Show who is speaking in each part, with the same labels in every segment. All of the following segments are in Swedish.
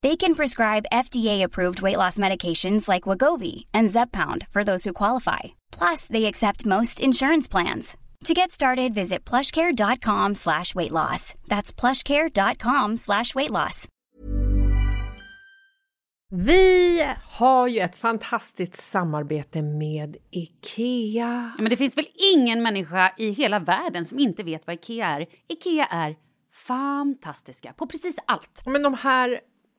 Speaker 1: They can prescribe FDA-approved weight loss medications like Wagovi and Zepbound for those who qualify. Plus, they accept most insurance plans. To get started, visit plushcare.com slash weight loss. That's plushcare.com slash weight loss.
Speaker 2: Vi har ju ett fantastiskt samarbete med IKEA.
Speaker 3: Ja, men det finns väl ingen människa i hela världen som inte vet vad IKEA är. IKEA är fantastiska på precis allt.
Speaker 2: Men de här...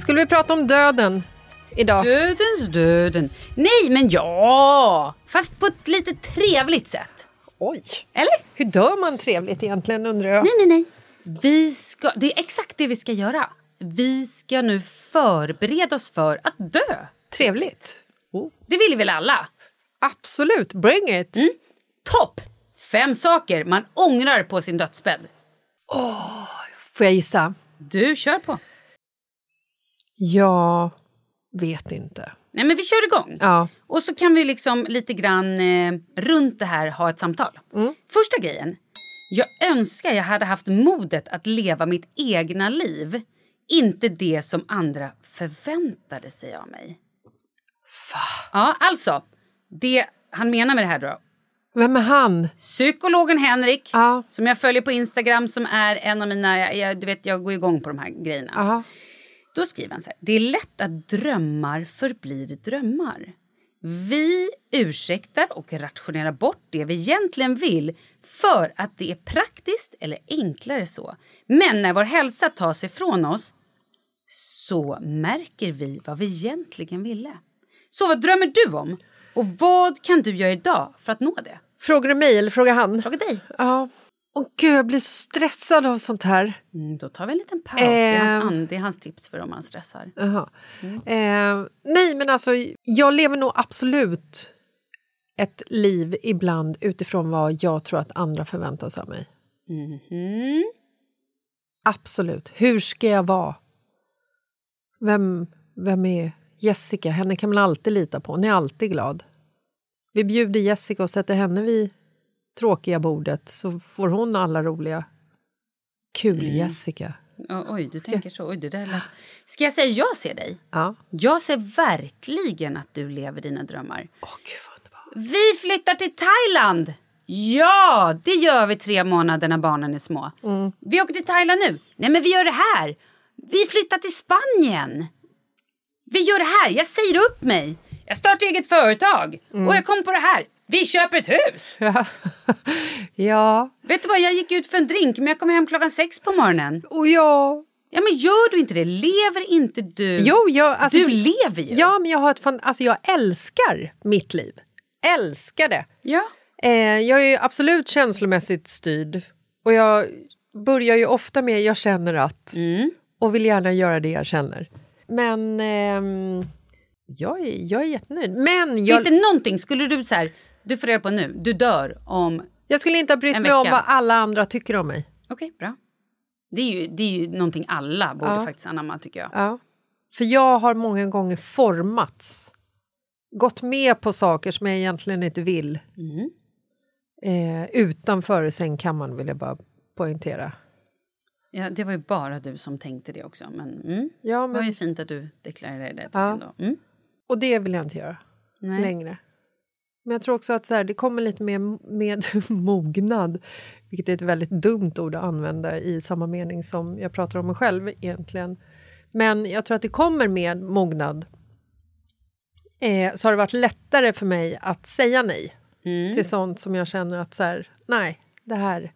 Speaker 2: Skulle vi prata om döden idag?
Speaker 3: Dödens döden. Nej, men ja! Fast på ett lite trevligt sätt.
Speaker 2: Oj!
Speaker 3: Eller?
Speaker 2: Hur dör man trevligt egentligen, undrar jag?
Speaker 3: Nej, nej, nej. Vi ska, det är exakt det vi ska göra. Vi ska nu förbereda oss för att dö.
Speaker 2: Trevligt? Oh.
Speaker 3: Det vill väl alla?
Speaker 2: Absolut, bring it!
Speaker 3: Topp! Fem saker man ångrar på sin dödsbädd.
Speaker 2: Får jag gissa?
Speaker 3: Du, kör på.
Speaker 2: Jag vet inte.
Speaker 3: Nej, men vi kör igång.
Speaker 2: Ja.
Speaker 3: Och så kan vi liksom lite grann eh, runt det här ha ett samtal.
Speaker 2: Mm.
Speaker 3: Första grejen. Jag önskar jag hade haft modet att leva mitt egna liv. Inte det som andra förväntade sig av mig. Ja, alltså. Det han menar med det här då.
Speaker 2: Vem är han?
Speaker 3: Psykologen Henrik,
Speaker 2: Ja.
Speaker 3: som jag följer på Instagram, som är en av mina... Jag, jag, du vet, jag går igång på de här grejerna.
Speaker 2: Aha.
Speaker 3: Då skriver han så här. Det är lätt att drömmar förblir drömmar. Vi ursäktar och rationerar bort det vi egentligen vill för att det är praktiskt eller enklare så. Men när vår hälsa tas ifrån oss så märker vi vad vi egentligen ville. Så vad drömmer du om? Och vad kan du göra idag för att nå det?
Speaker 2: Frågar du mig eller frågar han?
Speaker 3: Fråga dig.
Speaker 2: Ja. Åh gud, jag blir så stressad av sånt här.
Speaker 3: Mm, då tar vi en liten paus. Det, är hans,
Speaker 2: Ehm.
Speaker 3: an- det är hans tips för om man stressar.
Speaker 2: Jaha. Eh, nej, men alltså, jag lever nog absolut ett liv ibland utifrån vad jag tror att andra förväntar sig av mig.
Speaker 3: Mhm.
Speaker 2: Absolut. Hur ska jag vara? Vem, vem är Jessica? Henne kan man alltid lita på. Hon är alltid glad. Vi bjuder Jessica och sätter henne vid tråkiga bordet så får hon alla roliga. Kul Jessica.
Speaker 3: Ja, oj, du tänker så. Oj, det där lät. Ska jag säga jag ser dig?
Speaker 2: Ja.
Speaker 3: Jag ser verkligen att du lever dina drömmar.
Speaker 2: Åh, gud vad underbart.
Speaker 3: Vi flyttar till Thailand! Ja, det gör vi tre månader när barnen är små. Vi åker till Thailand nu. Nej, men vi gör det här. Vi flyttar till Spanien. Vi gör det här. Jag säger upp mig. Jag startar eget företag. Och jag kom på det här. Vi köper ett hus.
Speaker 2: Ja.
Speaker 3: Vet du vad, jag gick ut för en drink men jag kom hem klockan sex på morgonen.
Speaker 2: Och jag...
Speaker 3: Ja, men gör du inte det? Lever inte du?
Speaker 2: Jo, jag... Alltså,
Speaker 3: du lever ju.
Speaker 2: Ja, men jag, har ett fan, alltså, jag älskar mitt liv. Älskar det.
Speaker 3: ja.
Speaker 2: Eh, jag är ju absolut känslomässigt styrd. Och jag börjar ju ofta med jag känner att
Speaker 3: Mm.
Speaker 2: och vill gärna göra det jag känner. Men ehm, jag, är, jag är jättenöjd. Men jag,
Speaker 3: Finns det någonting, skulle du så här, du får reda på nu, du dör om...
Speaker 2: jag skulle inte ha brytt
Speaker 3: En
Speaker 2: mig om
Speaker 3: vecka?
Speaker 2: vad alla andra tycker om mig.
Speaker 3: Okej, bra. Det är, ju, det är ju någonting alla borde faktiskt anamma tycker jag.
Speaker 2: Ja. För jag har många gånger formats. Gått med på saker som jag egentligen inte vill. Eh, utanför sängkammaren vill jag bara poängtera.
Speaker 3: Ja, det var ju bara du som tänkte det också. Men, mm.
Speaker 2: Ja,
Speaker 3: Det var
Speaker 2: men,
Speaker 3: ju fint att du deklarerade det.
Speaker 2: Ja.
Speaker 3: Ja. Mm.
Speaker 2: och det vill jag inte göra.
Speaker 3: Nej.
Speaker 2: längre. Men jag tror också att så här, det kommer lite mer med mognad, vilket är ett väldigt dumt ord att använda i samma mening som jag pratar om mig själv egentligen. Men jag tror att det kommer med mognad. Eh, så har det varit lättare för mig att säga nej
Speaker 3: Mm.
Speaker 2: till sånt som jag känner att så här, nej, det här,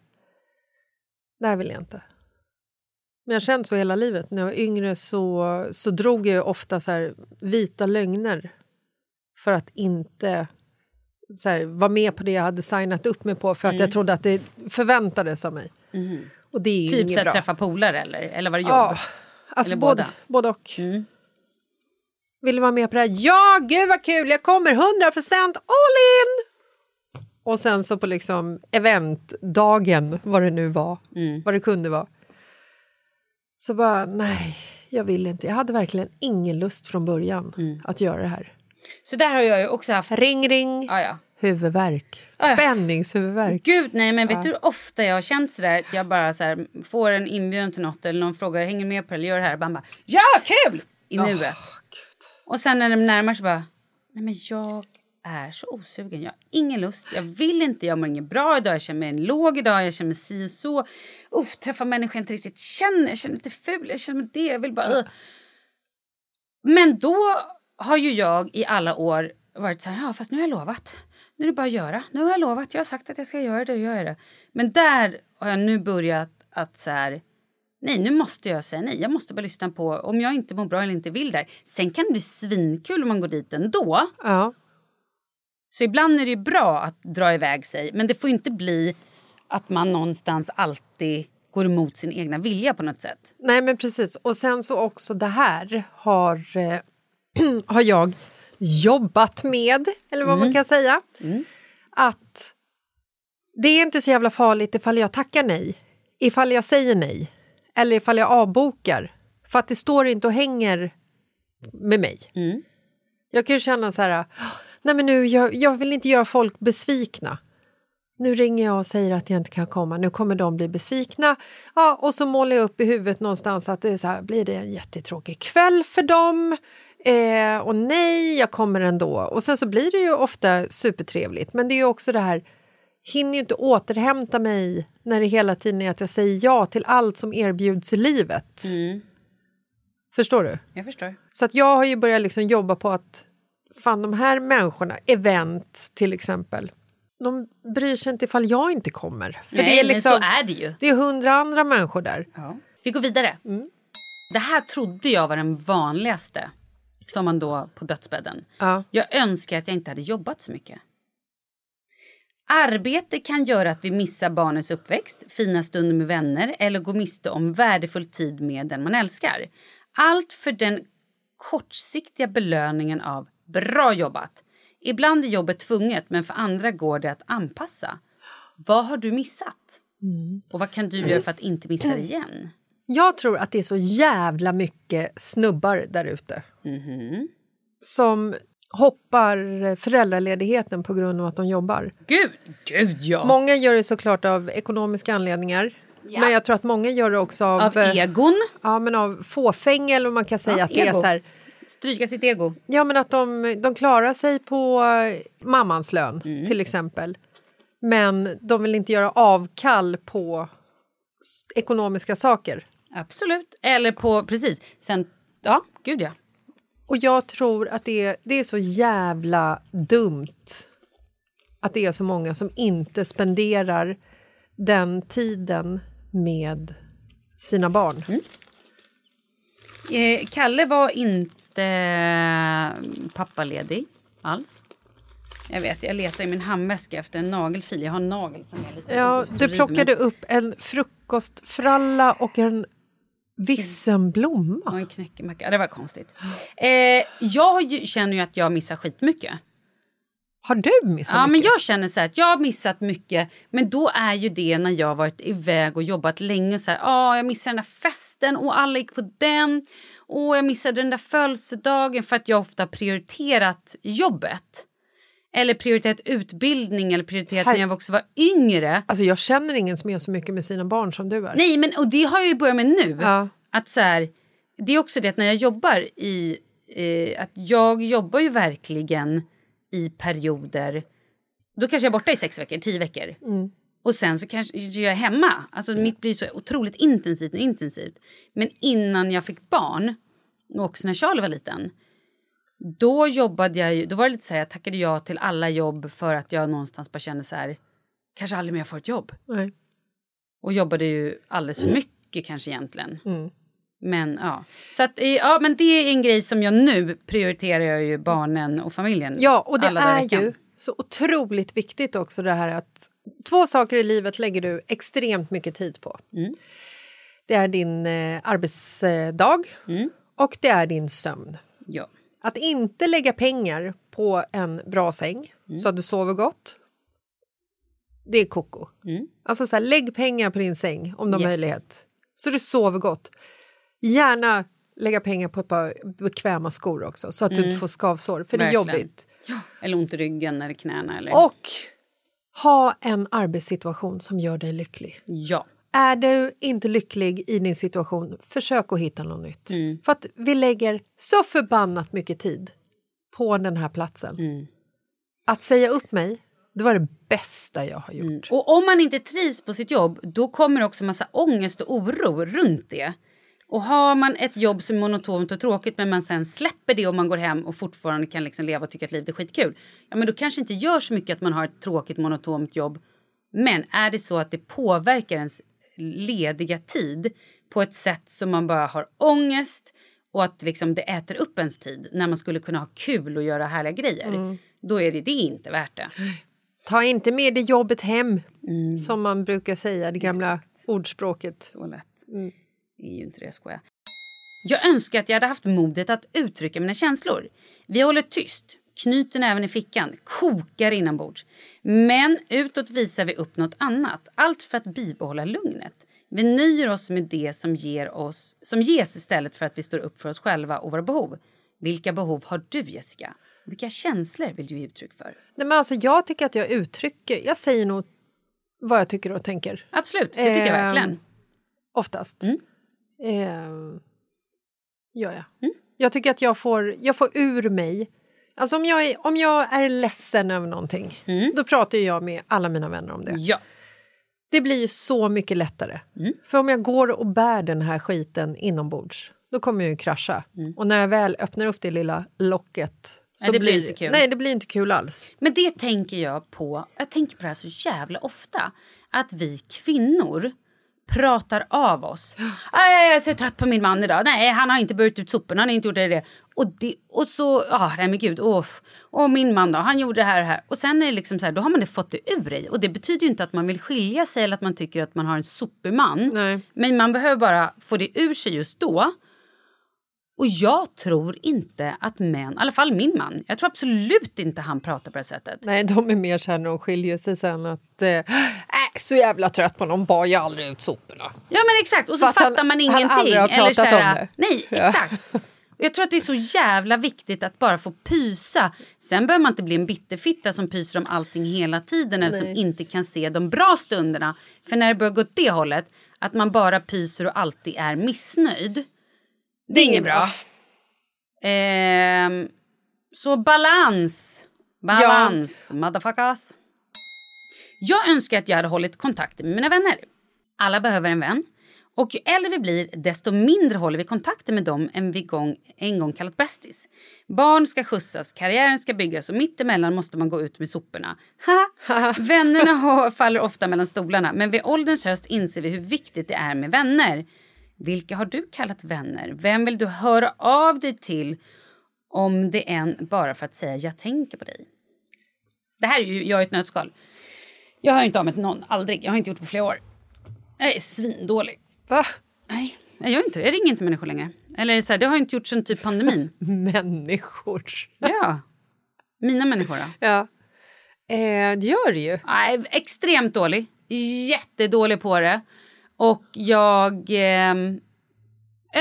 Speaker 2: det här vill jag inte. Men jag har känt så hela livet. När jag var yngre så, så drog jag ju ofta så här vita lögner för att inte så här, vara med på det jag hade signat upp mig på för
Speaker 3: Mm.
Speaker 2: att jag trodde att det förväntades av mig. Och det är ju
Speaker 3: Typ så
Speaker 2: inget
Speaker 3: här,
Speaker 2: bra.
Speaker 3: träffa polare eller, eller var det jobb?
Speaker 2: Ja, alltså
Speaker 3: Eller
Speaker 2: både,
Speaker 3: båda.
Speaker 2: både och.
Speaker 3: Mm.
Speaker 2: Vill du vara med på det här? Ja, gud vad kul! Jag kommer 100% all in! Och sen så på liksom eventdagen, vad det nu var,
Speaker 3: Mm.
Speaker 2: vad det kunde vara. Så bara, nej, jag vill inte. Jag hade verkligen ingen lust från början
Speaker 3: Mm.
Speaker 2: att göra det här.
Speaker 3: Så där har jag ju också haft...
Speaker 2: Ring, ring,
Speaker 3: Ja, ja.
Speaker 2: huvudvärk. Spänningshuvudvärk.
Speaker 3: Gud, nej men vet du hur ofta jag har känt sådär att jag bara så här, får en inbjudan till något eller någon frågar hänger du med på det eller gör det här? Och man bara ja, kul! I nuet. Och sen när de närmar sig bara nej men jag är så osugen, jag har ingen lust, jag vill inte, jag mår ingen bra idag, jag känner mig låg idag, jag känner mig si och så. Uff, träffar människor jag inte riktigt känner, jag känner mig lite ful, jag känner mig det, jag vill bara... Uh. Men då har ju jag i alla år varit så här, ja fast nu har jag lovat. Nu är det bara att göra. Nu har jag lovat, jag har sagt att jag ska göra det, då gör jag det. Men där har jag nu börjat att så här, nej nu måste jag säga nej. Jag måste bara lyssna på om jag inte mår bra eller inte vill där. Sen kan det bli svinkul om man går dit ändå.
Speaker 2: Ja.
Speaker 3: Så ibland är det ju bra att dra iväg sig. Men det får ju inte bli att man någonstans alltid går emot sin egna vilja på något sätt.
Speaker 2: Nej, men precis. Och sen så också det här har, eh, har jag jobbat med, eller vad man kan säga. Att det är inte så jävla farligt ifall jag tackar nej, ifall jag säger nej eller ifall jag avbokar, för att det står inte och hänger med mig. Jag kan ju känna så här, "Åh, nej men nu, jag, jag vill inte göra folk besvikna. Nu ringer jag och säger att jag inte kan komma, nu kommer de bli besvikna. Ja, och så målar jag upp i huvudet någonstans att det är så här, blir det en jättetråkig kväll för dem? Eh, och nej, jag kommer ändå. Och sen så blir det ju ofta supertrevligt, men det är ju också det här, hinner ju inte återhämta mig när det hela tiden är att jag säger ja till allt som erbjuds i livet. Förstår du?
Speaker 3: Jag förstår.
Speaker 2: Så att jag har ju börjat liksom jobba på att fan de här människorna, event till exempel, de bryr sig inte ifall jag inte kommer. För
Speaker 3: nej,
Speaker 2: det är
Speaker 3: men
Speaker 2: liksom,
Speaker 3: så är det ju.
Speaker 2: det är hundra andra människor där.
Speaker 3: Vi går vidare. Det här trodde jag var den vanligaste Som man då på dödsbädden.
Speaker 2: Ja.
Speaker 3: Jag önskar att jag inte hade jobbat så mycket. Arbete kan göra att vi missar barnens uppväxt, fina stunder med vänner eller går miste om värdefull tid med den man älskar. Allt för den kortsiktiga belöningen av bra jobbat. Ibland är jobbet tvunget, men för andra går det att anpassa. Vad har du missat? Och vad kan du göra för att inte missa det igen?
Speaker 2: Jag tror att det är så jävla mycket snubbar där ute
Speaker 3: Mhm.
Speaker 2: som hoppar föräldraledigheten på grund av att de jobbar.
Speaker 3: Gud, gud ja!
Speaker 2: Många gör det såklart av ekonomiska anledningar. Men jag tror att många gör det också av,
Speaker 3: av
Speaker 2: eh,
Speaker 3: egon.
Speaker 2: ja, men av fåfäng eller om man kan säga
Speaker 3: Ja,
Speaker 2: att det är
Speaker 3: ego.
Speaker 2: så här,
Speaker 3: Stryka sitt ego.
Speaker 2: Ja, men att de, de klarar sig på eh, mammans lön,
Speaker 3: Mm.
Speaker 2: till exempel. Men de vill inte göra avkall på s- ekonomiska saker.
Speaker 3: Absolut. Eller på, precis. Sen, ja, gud ja.
Speaker 2: Och jag tror att det, det är så jävla dumt att det är så många som inte spenderar den tiden med sina barn.
Speaker 3: Mm. Eh, Kalle var inte eh, pappaledig alls. Jag vet, jag letar i min handväska efter en nagelfil. Jag har en nagel som är lite...
Speaker 2: Ja,
Speaker 3: stor,
Speaker 2: du
Speaker 3: men-
Speaker 2: plockade upp en frukostfralla och
Speaker 3: Mm.
Speaker 2: en vissen
Speaker 3: Och
Speaker 2: blomma.
Speaker 3: en knäckemacka. Ja, Det var konstigt. Eh, jag har ju, känner ju att jag missar skitmycket.
Speaker 2: Har du missat
Speaker 3: Ja,
Speaker 2: mycket?
Speaker 3: men jag känner så här att jag har missat mycket. Men då är ju det när jag har varit iväg och jobbat länge. Och så här, ah, jag missade den där festen och alla gick på den. Och jag missade den där födelsedagen för att jag ofta har prioriterat jobbet. Eller prioriterat utbildning eller prioriterat
Speaker 2: Här-
Speaker 3: när jag också var yngre.
Speaker 2: Alltså jag känner ingen som är så mycket med sina barn som du är.
Speaker 3: Nej, men och det har jag ju börjat med nu.
Speaker 2: Ja.
Speaker 3: Att så här, det är också det att när jag jobbar i... Eh, att jag jobbar ju verkligen i perioder... Då kanske jag är borta i sex veckor, tio veckor. Och sen så kanske jag är hemma. Alltså mitt blir så otroligt intensivt och intensivt. Men innan jag fick barn, och också när Charlie var liten då jobbade jag ju, då var det lite så här, jag tackade ja till alla jobb för att jag någonstans bara kände så här, kanske aldrig mer får ett jobb.
Speaker 2: Nej.
Speaker 3: Och jobbade ju alldeles för mycket kanske egentligen.
Speaker 2: Mm.
Speaker 3: Men ja. Så att, eh, ja, men det är en grej som jag nu prioriterar jag ju barnen och familjen.
Speaker 2: Ja, och det
Speaker 3: alla dagar i
Speaker 2: är
Speaker 3: veckan.
Speaker 2: ju så otroligt viktigt också det här att två saker i livet lägger du extremt mycket tid på.
Speaker 3: Mm.
Speaker 2: Det är din eh, arbetsdag
Speaker 3: Mm.
Speaker 2: och det är din sömn.
Speaker 3: Ja.
Speaker 2: Att inte lägga pengar på en bra säng
Speaker 3: Mm.
Speaker 2: så att du sover gott, det är koko. Alltså så här, lägg pengar på din säng om du har
Speaker 3: Mm. Yes.
Speaker 2: möjlighet, så du sover gott. Gärna lägga pengar på ett par bekväma skor också så att du inte får skavsår, för det är
Speaker 3: Mm. Verkligen.
Speaker 2: jobbigt.
Speaker 3: Eller ont i ryggen eller knäna. Eller...
Speaker 2: Och ha en arbetssituation som gör dig lycklig.
Speaker 3: Ja.
Speaker 2: Är du inte lycklig i din situation, försök att hitta något nytt. För att vi lägger så förbannat mycket tid på den här platsen. Att säga upp mig, det var det bästa jag har gjort.
Speaker 3: Och om man inte trivs på sitt jobb då kommer det också massa ångest och oro runt det. Och har man ett jobb som är monotont och tråkigt men man sen släpper det och man går hem och fortfarande kan liksom leva och tycka att livet är skitkul. Ja men då kanske inte gör så mycket att man har ett tråkigt monotont jobb. Men är det så att det påverkar ens lediga tid på ett sätt som man bara har ångest och att liksom det äter upp ens tid när man skulle kunna ha kul och göra härliga grejer. Då är det, det är inte värt det.
Speaker 2: Ta inte med dig jobbet hem, som man brukar säga, det gamla ordspråket.
Speaker 3: så lätt. Det är ju inte det, jag skojar. Jag önskar att jag hade haft modet att uttrycka mina känslor. Vi håller tyst, knyter näven i fickan, kokar inombords. Men utåt visar vi upp något annat, allt för att bibehålla lugnet. Vi nöjer oss med det som, ger oss, som ges istället för att vi står upp för oss själva och våra behov. Vilka behov har du, Jessica? Vilka känslor vill du ge uttryck för?
Speaker 2: Nej, men alltså, jag tycker att jag uttrycker, jag säger nog vad jag tycker och tänker.
Speaker 3: Absolut, det tycker jag
Speaker 2: Ehm,
Speaker 3: verkligen.
Speaker 2: oftast.
Speaker 3: Mm.
Speaker 2: Eh, gör jag.
Speaker 3: Mm.
Speaker 2: Jag tycker att jag får, jag får ur mig... Alltså om jag, är, om jag är ledsen över någonting,
Speaker 3: Mm.
Speaker 2: då pratar ju jag med alla mina vänner om det.
Speaker 3: Ja.
Speaker 2: Det blir ju så mycket lättare.
Speaker 3: Mm.
Speaker 2: För om jag går och bär den här skiten inombords, då kommer jag ju krascha. Och när jag väl öppnar upp det lilla locket...
Speaker 3: Mm. Nej, det blir inte kul.
Speaker 2: Nej, det blir inte kul alls.
Speaker 3: Men det tänker jag på. Jag tänker på det här så jävla ofta. Att vi kvinnor pratar av oss. "Aj, aj, Jag är så trött på min man idag. Nej, han har inte burit ut soporna. Han har inte gjort det. och det. Och, det, och så, ah, nej men gud. Och, och min man då, han gjorde det här och det här. Och sen är det liksom så här, då har man det fått det ur dig. Och det betyder ju inte att man vill skilja sig eller att man tycker att man har en sopig man.
Speaker 2: Nej.
Speaker 3: Men man behöver bara få det ur sig just då. Och jag tror inte att män, i alla fall min man, jag tror absolut inte han pratar på det här sättet.
Speaker 2: Nej, de är mer så här när de skiljer sig sen att... Eh, äh, så jävla trött på honom, bar jag aldrig ut soporna.
Speaker 3: Ja men exakt, och så
Speaker 2: För att han-
Speaker 3: fattar man
Speaker 2: han
Speaker 3: ingenting.
Speaker 2: aldrig har
Speaker 3: Eller så
Speaker 2: pratat
Speaker 3: här,
Speaker 2: om det.
Speaker 3: Nej,
Speaker 2: Ja.
Speaker 3: exakt. Och jag tror att det är så jävla viktigt att bara få pysa. Sen behöver man inte bli en bitterfitta som pyser om allting hela tiden eller som inte kan se de bra stunderna. För när det börjar gå åt det hållet, att man bara pyser och alltid är missnöjd. Det är, inget bra. Ehm, så balans. Balans, motherfuckers. Jag önskar att jag hade hållit kontakt med mina vänner. Alla behöver en vän. Och ju äldre vi blir, desto mindre håller vi kontakten med dem än vi gång, en gång kallat bästis. Barn ska skjutsas, karriären ska byggas och mittemellan måste man gå ut med soporna. Haha. Vännerna har- faller ofta mellan stolarna, men vid ålderns höst inser vi hur viktigt det är med vänner. Vilka har du kallat vänner? Vem vill du höra av dig till om det än bara för att säga jag tänker på dig? Det här är ju jag i ett nötskal. Jag hör inte av mig till någon, aldrig. Jag har inte gjort det på flera år. Jag är svindålig.
Speaker 2: Va?
Speaker 3: Nej, jag gör inte det. Jag ringer inte människor längre. Eller så här, det har jag inte gjort sedan typ pandemin.
Speaker 2: Människor.
Speaker 3: Ja. Mina människor då?
Speaker 2: Ja. Eh, det gör det ju.
Speaker 3: Nej, extremt dålig. Jättedålig på det. Och jag eh,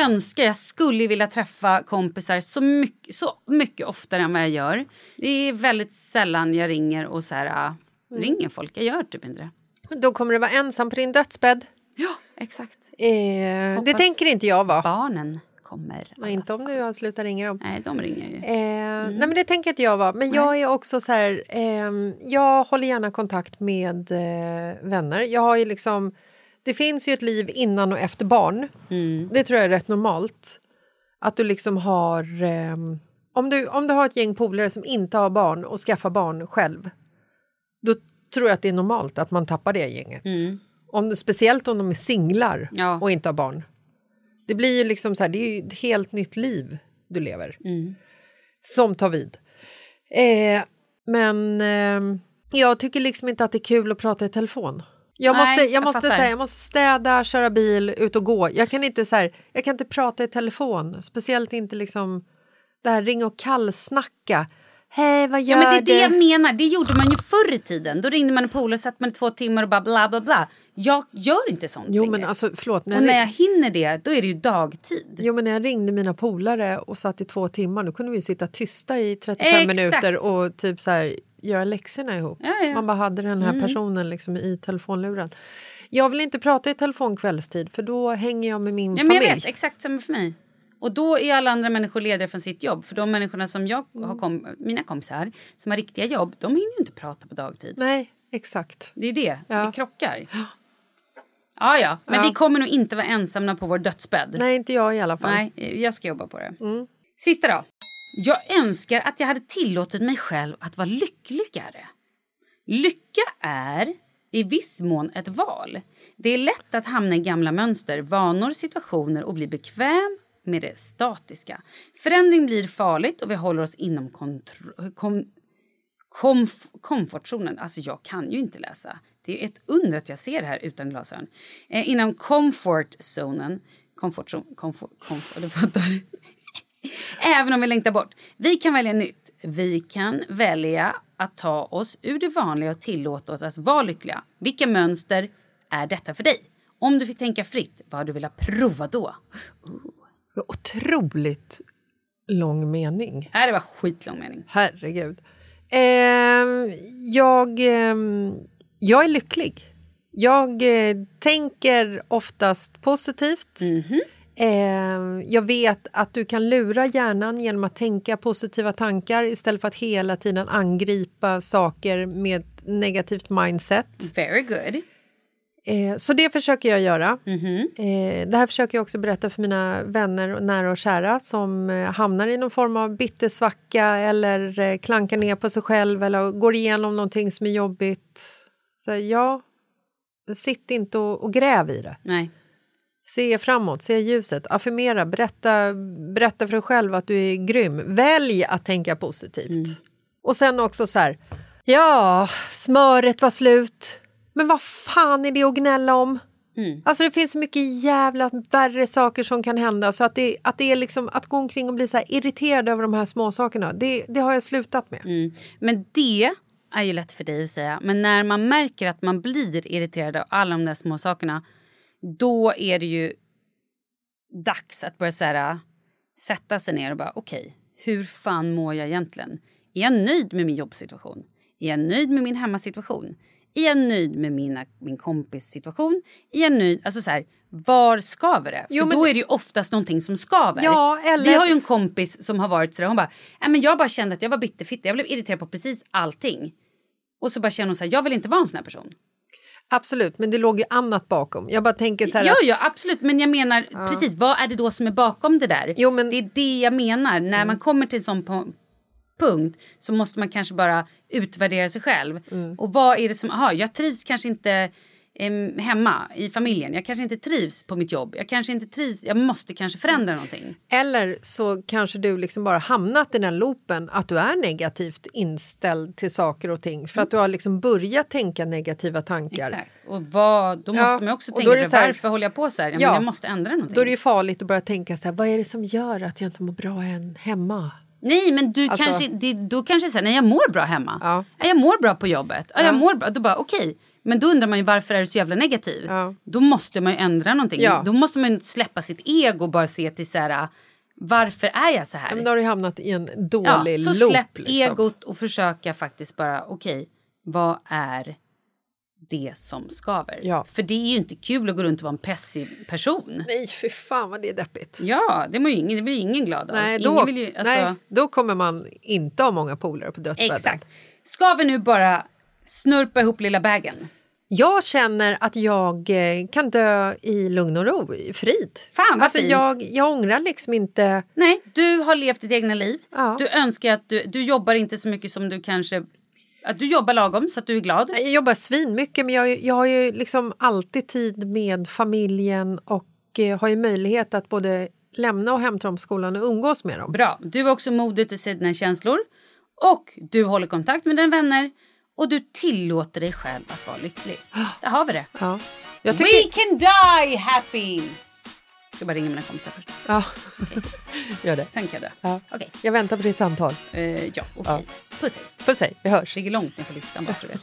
Speaker 3: önskar, jag skulle vilja träffa kompisar så mycket, så mycket oftare än vad jag gör. Det är väldigt sällan jag ringer och så här, ah, ringer folk. Jag gör typ inte det.
Speaker 2: Då kommer du vara ensam på din dödsbädd.
Speaker 3: Ja, exakt.
Speaker 2: Eh, det
Speaker 3: Hoppas-
Speaker 2: tänker inte jag vara.
Speaker 3: Barnen kommer.
Speaker 2: Nej, inte om du har slutat ringa dem.
Speaker 3: Nej, de ringer ju.
Speaker 2: Eh, Nej, men det tänker inte jag vara. Men jag är också så här... ehm, jag håller gärna kontakt med eh, vänner. Jag har ju liksom... Det finns ju ett liv innan och efter barn. Det tror jag är rätt normalt. Att du liksom har... ehm, om, du, om du har ett gäng polare som inte har barn och skaffar barn själv då tror jag att det är normalt att man tappar det gänget. Om, speciellt om de är singlar
Speaker 3: Ja.
Speaker 2: och inte har barn. Det blir ju liksom så här, det är ju ett helt nytt liv du lever. Som tar vid. Eh, men ehm, jag tycker liksom inte att det är kul att prata i telefon. Jag
Speaker 3: Nej,
Speaker 2: måste, jag
Speaker 3: jag
Speaker 2: måste
Speaker 3: fattar.
Speaker 2: säga, jag måste städa, köra bil, ut och gå. Jag kan inte, så här, jag kan inte prata i telefon, speciellt inte liksom det här ring och kallsnacka. Hej, vad gör
Speaker 3: Ja, men det är det
Speaker 2: du?
Speaker 3: jag menar. Det gjorde man ju förr i tiden. Då ringde man en polare och satt man i två timmar och bara bla bla bla. Jag gör inte sånt
Speaker 2: Jo,
Speaker 3: längre.
Speaker 2: men alltså, förlåt. När
Speaker 3: och när
Speaker 2: jag
Speaker 3: jag hinner det, då är det ju dagtid.
Speaker 2: Jo, men när jag ringde mina polare och satt i två timmar då kunde vi sitta tysta i 35
Speaker 3: Exakt.
Speaker 2: minuter och typ så här, göra läxorna ihop.
Speaker 3: Ja, ja. Mm.
Speaker 2: Man bara hade den här personen liksom i telefonluren. Jag vill inte prata i telefon kvällstid för då hänger jag med min
Speaker 3: Ja, men
Speaker 2: familj.
Speaker 3: jag vet, exakt samma för mig. Och då är alla andra människor lediga från sitt jobb. För de människorna som jag
Speaker 2: Mm.
Speaker 3: har kom, mina kompisar som har riktiga jobb, de hinner ju inte prata på dagtid.
Speaker 2: Nej, exakt.
Speaker 3: Det är det,
Speaker 2: Ja.
Speaker 3: vi krockar. Ja, ja, men
Speaker 2: Ja.
Speaker 3: vi kommer nog inte vara ensamma på vår dödsbädd.
Speaker 2: Nej, inte jag i alla fall. Mm.
Speaker 3: Nej, jag ska jobba på det. Sista då. Jag önskar att jag hade tillåtit mig själv att vara lyckligare. Lycka är i viss mån ett val. Det är lätt att hamna i gamla mönster, vanor, situationer och bli bekväm med det statiska. Förändring blir farligt och vi håller oss inom kontro- kom- komf- komfortzonen. Alltså jag kan ju inte läsa. Det är ett under att jag ser det här utan glasögon. Eh, inom comfortzonen. Komfortzon, komfort, komfort, du fattar. Även om vi längtar bort. Vi kan välja nytt. Vi kan välja att ta oss ur det vanliga och tillåta oss att vara lyckliga. Vilka mönster är detta för dig? Om du fick tänka fritt, vad hade du velat prova då?
Speaker 2: Otroligt lång mening.
Speaker 3: Äh, det var skitlång mening.
Speaker 2: Herregud. Ehm, jag, ehm, jag är lycklig. Jag eh, tänker oftast positivt. Ehm, jag vet att du kan lura hjärnan genom att tänka positiva tankar istället för att hela tiden angripa saker med ett negativt mindset.
Speaker 3: Very good.
Speaker 2: Eh, så det försöker jag göra. Eh, det här försöker jag också berätta för mina vänner, och nära och kära som eh, hamnar i någon form av bittersvacka eller eh, klankar ner på sig själv eller går igenom någonting som är jobbigt. Så ja, Sitt inte och, och gräv i det.
Speaker 3: Nej.
Speaker 2: Se framåt, se ljuset, affirmera, berätta, berätta för dig själv att du är grym. Välj att tänka positivt.
Speaker 3: Mm.
Speaker 2: Och sen också så här, ja, smöret var slut. Men vad fan är det att gnälla om?
Speaker 3: Mm.
Speaker 2: Alltså det finns så mycket jävla värre saker som kan hända. Så att, det, att, det är liksom, att gå omkring och bli så här irriterad över de här små sakerna, det, det har jag slutat med.
Speaker 3: Mm. Men det är ju lätt för dig att säga. Men när man märker att man blir irriterad av alla de där små sakerna då är det ju dags att börja så här, äh, sätta sig ner och bara okej, hur fan mår jag egentligen? Är jag nöjd med min jobbsituation? Är jag nöjd med min hemmasituation? Är jag nöjd med mina, min kompis situation? Är jag nöjd? Alltså så här, var skaver det?
Speaker 2: Jo,
Speaker 3: För
Speaker 2: men-
Speaker 3: då är det ju oftast någonting som skaver.
Speaker 2: Ja, eller-
Speaker 3: Vi har ju en kompis som har varit sådär, hon bara, "Nej, men jag bara kände att jag var bitterfitta, jag blev irriterad på precis allting. Och så bara känner hon så här, jag vill inte vara en sån här person.
Speaker 2: Absolut, men det låg ju annat bakom. Jag bara tänker så här
Speaker 3: Ja,
Speaker 2: att,
Speaker 3: ja, absolut. Men jag menar, precis, vad är det då som är bakom det där?
Speaker 2: Jo, men- Mm.
Speaker 3: Det är det jag menar. När man kommer till en sån po- punkt så måste man kanske bara utvärdera sig själv.
Speaker 2: Mm.
Speaker 3: Och vad är det som, aha, jag trivs kanske inte em, hemma i familjen. Jag kanske inte trivs på mitt jobb. Jag kanske inte trivs, jag måste kanske förändra någonting.
Speaker 2: Eller så kanske du liksom bara hamnat i den loopen att du är negativt inställd till saker och ting för att du har liksom börjat tänka negativa tankar.
Speaker 3: Exakt. Och vad, då måste
Speaker 2: Ja,
Speaker 3: man ju också
Speaker 2: och då
Speaker 3: tänka,
Speaker 2: är det så här-
Speaker 3: varför håller jag på så här? Ja,
Speaker 2: Ja.
Speaker 3: Men jag måste ändra någonting.
Speaker 2: Då är det ju farligt att börja tänka så här, vad är det som gör att jag inte mår bra än hemma?
Speaker 3: Nej, men du
Speaker 2: Alltså-
Speaker 3: kanske, det, då kanske säger nej jag mår bra hemma.
Speaker 2: Ja.
Speaker 3: Nej, Jag mår bra på jobbet. Ja, Jag mår bra. Då bara okej. Men då undrar man ju varför är du så jävla negativ?
Speaker 2: Ja.
Speaker 3: Då måste man ju ändra någonting.
Speaker 2: Ja.
Speaker 3: Då måste man ju släppa sitt ego och bara se till så här, varför är jag så här?
Speaker 2: Ja, men då har du hamnat i en
Speaker 3: Ja,
Speaker 2: dålig
Speaker 3: så
Speaker 2: loop.
Speaker 3: släpp
Speaker 2: liksom.
Speaker 3: egot och försöka faktiskt bara okej, vad är det som skaver?
Speaker 2: Ja.
Speaker 3: För det är ju inte kul att gå runt och vara en pessig person.
Speaker 2: Nej, fy fan vad det är deppigt.
Speaker 3: Ja, det, mår ju ingen, det blir ingen glad av.
Speaker 2: Nej,
Speaker 3: ingen
Speaker 2: då,
Speaker 3: vill ju, alltså-
Speaker 2: nej, då kommer man inte ha många polare på dödsbädden.
Speaker 3: Exakt. typ Ska vi nu bara snurpa ihop lilla bägen?
Speaker 2: Jag känner att jag eh, kan dö i lugn och ro, i frid.
Speaker 3: Fan, vad
Speaker 2: alltså,
Speaker 3: fint.
Speaker 2: jag, jag ångrar liksom inte...
Speaker 3: Nej, du har levt ditt egna liv.
Speaker 2: Ja.
Speaker 3: Du önskar att du, du jobbar inte så mycket som du kanske... Att du jobbar lagom så att du är glad.
Speaker 2: Jag jobbar svinmycket men jag, jag har ju liksom alltid tid med familjen och eh, har ju möjlighet att både lämna och hämta dem på skolan och umgås med dem.
Speaker 3: Bra. Du är också modig till sina känslor. Och du håller kontakt med dina vänner. Och du tillåter dig själv att vara lycklig. Där har vi det.
Speaker 2: Ja. Jag
Speaker 3: We
Speaker 2: tycker,
Speaker 3: can die happy! Jag ska bara ringa mina kompisar först.
Speaker 2: ja. Gör det.
Speaker 3: Sen kan jag dö.
Speaker 2: Ja.
Speaker 3: Okej.
Speaker 2: Jag väntar på ditt samtal.
Speaker 3: Eh, ja, okej. Puss hej.
Speaker 2: Puss hej, vi hörs.
Speaker 3: Ligger långt ner på listan bara så du vet.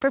Speaker 4: for